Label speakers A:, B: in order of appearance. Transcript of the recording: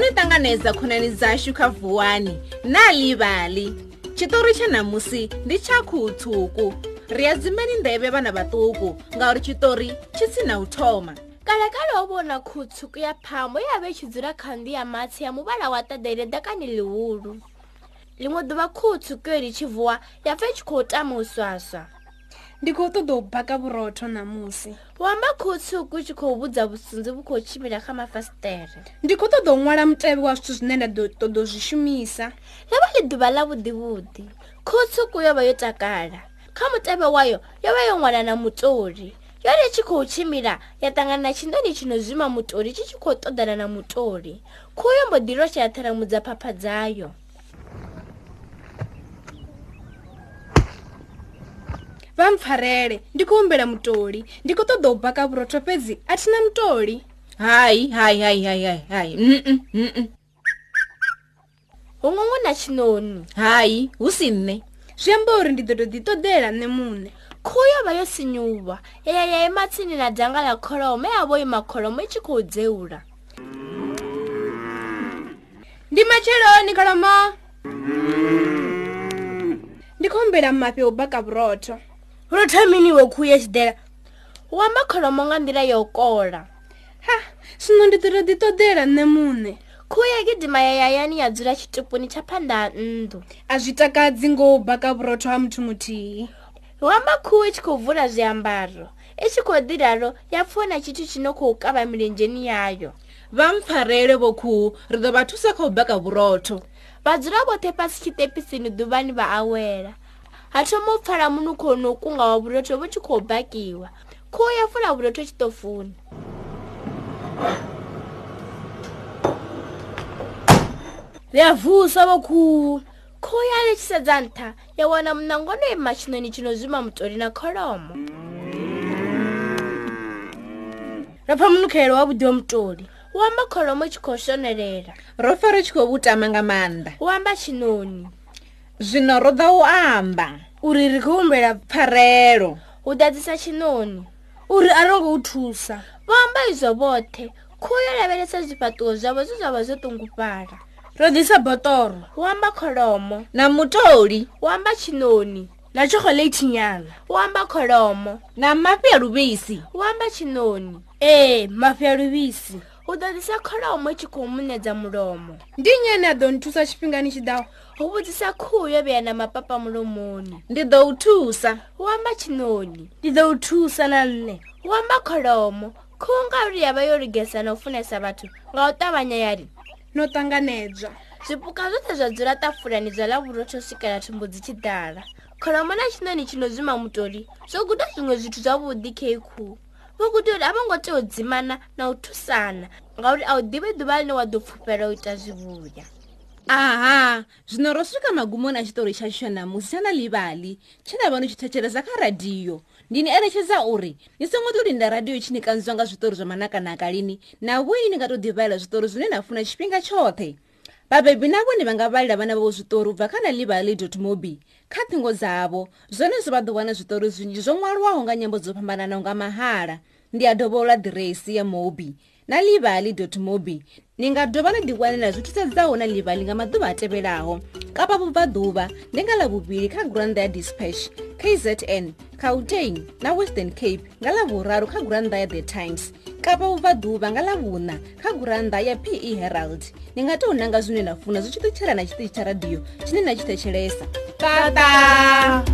A: dza khonani dzashu kha vuwani na livhali tshitori tsha ṋamusi ndi tsha khuhu tswuku ri a dzimeni nḓevhe vhana vhaṱuku ngauri tshitori tshi si na u thoma
B: kalekale wo vhona khutsuku ya phambo ye ya vha i tshi dzula kha nnḓu ya matsi ya muvhala wa ṱaḓele ḓakani ḽihulu ḽiṅwe ḓuvha khutsuku yo ḽi tshi vuwa ya pfa i tshi khou tama u swaswa
C: ndi khou ṱoḓa u baka vhurotho ṋamusi
B: wamba khutsuku u tshi khou vhudza vhusunzi vhu khou tshimbila kha mafasiṱere
C: ndi khou ṱoḓa u ṅwala mutevhe wa zwithu zwine nda ḓo ṱoḓa u zwi shumisa
B: ḽo vha ḽi ḓuvha ḽa vhuḓivhuḓi khutsuku yo vha yo takala kha mutevhe wayo yo vha yo ṅwala na mutoli yone i tshi khou tshimbila ya ṱangana na tshindoni tshi no zwima mutoli tshi tshi khou ṱoḓana na mutoli khuhu yo mbo ḓi losha ya ṱharamudza phapha dzayo
C: vha mpfarele ndi khou humbela mutoli ndi khou ṱoḓa u baka vhurotho fhedzi a thi na mutoli
A: hai hai hai hai hai hai mm-mm, mm-mm.
B: huṅwe ngu na tshinoni
A: hai hu si nṋe
C: zwi amba uri ndi ḓo tou ḓi ṱoḓela nṋe muṋe
B: khuhu yo vha yo sinyuwa ya ya ya ima tsini na danga ḽa kholomo ya vho ima kholomo i tshi khou dzeula
C: ndi matsheloni kholomo ndi khou humbela mafhi a u baka vhurotho
B: lotha mini iwe khuhu ya tshiḓela wamba kholomo nga nḓila ya u kola
C: ha zwino ndi ḓo tou ḓi ṱoḓela nṋe muṋe
B: khuhu ya gidima ya yayani ya dzula tshitupuni tsha phanḓa ha nnḓu
C: a zwi takadzi ngo u baka vhurotho ha muthu muthihi
B: wamba khuhu i tshi khou vula zwiambaro i tshi khou ḓiralo ya pfhiwa na tshithu tshi no khou kavha milenzheni yayo
A: vha mpfarele vho khuhu ri ḓo vha thusa kha u baka vhurotho
B: vhadzula vhoṱhe fhasi tshiṱepisini ḓuvhani vha awela ha thoma u pfhala munukho no kunga wa vhurotho vhu tshi khou bakiwa khuhu ya fula vhurotho tshiṱofuni ri a vusa vho khuhu khuhu ya ḽi tshi sedza nṱha ya wana munango no ima tshinoni tshi no zwima mutoli na kholomo ra pfa munukhelo wavhuḓi wa mutoli u amba kholomo i tshi khou shonelela
A: ro pfa ri tshi khou vhu tama nga maanḓa
B: u amba tshinoni
A: zwino ro ḓa u amba
C: uri ri khou humbela
A: pfarelo
B: hu ḓadzisa tshinoni
C: uri a ro ngo u thusa
B: vho amba izwo vhoṱhe khuhu yo lavhelesa zwifhaṱuwo zwavho zwe zwa vha zwo ṱungufhala
C: ro ḓisa botoro
B: u amba kholomo
A: na mutoli
B: u amba tshinoni
C: na chocolate nyana
B: u amba kholomo
A: na mafhi a luvhisi
B: u amba tshinoni
C: ee mafhi a luvhisi
B: hu ḓo ḓisa kholomo i tshi khou muṋedza mulomo
C: ndi nnyi ane a ḓo nthusa tshifhingani tshiḓaho
B: hu vhudzisa khuhu yo vheya na mapapa mulomoni
A: ndi ḓo u thusa
B: u amba tshinoni
C: ndi ḓo u thusa na nṋe
B: u amba kholomo khuhu ngauri ya vha yo lugesa na u funesa vhathu nga u ṱavhanya ya ri
C: no ṱanganedzwa
B: zwipuka zwoṱhe zwa dzula tafulani zwa ḽa vhurotho u swikela thumbu dzi tshi ḓala kholomo na tshinoni tshi no zwima mutoli zwo guda zwiṅwe zwithu zwavhuḓi kei khuhu vho guda uri a vho ngo tea u dzimana na u thusana ngauri a u ḓivhi ḓuvha ḽine wa ḓo pfhufhela u ita zwivhuya
A: aha zwino ro swika magumoni a tshitori tshashu tsha namusi tsha na livhali tshe na vha ni tshi thetshelesa kha radiyo ndi ni eletshedza uri ni songo tou linda radiyo tshi ni kanzwa nga zwiṱori zwa manakanaka lini na vhoi ni nga tou ḓivhalela zwiṱori zwine na funa tshifhinga tshoṱhe vhabebi na vhone vha nga vhalela vhana vhavho zwiṱori u bva kha na livhali mobi kha ṱhingo dzavho zwone zwo vha ḓo wana zwiṱori zwinzhi zwo ṅwaliwaho nga nyambo dzo fhambananaho nga mahala ndi a dovholola ḓiresi ya mobi na livhali mobi ni nga dovha na ḓiwanela zwi thusedzaho na livhali nga maḓuvha a tevhelaho kapa vhubvaḓuvha ndi nga ḽavhuvhili kha gurannḓa ya dispatch kzn cautain na western cape nga ḽavhuraru kha gurannḓa ya the times kapa vhubvaḓuvha nga ḽavhuṋa kha gurannḓa ya pe herald ni nga tou nanga zwine na funa zwi tshi ṱutshela na tshiṱitshi tsha radio tshine na tshi thetshelesa
C: tata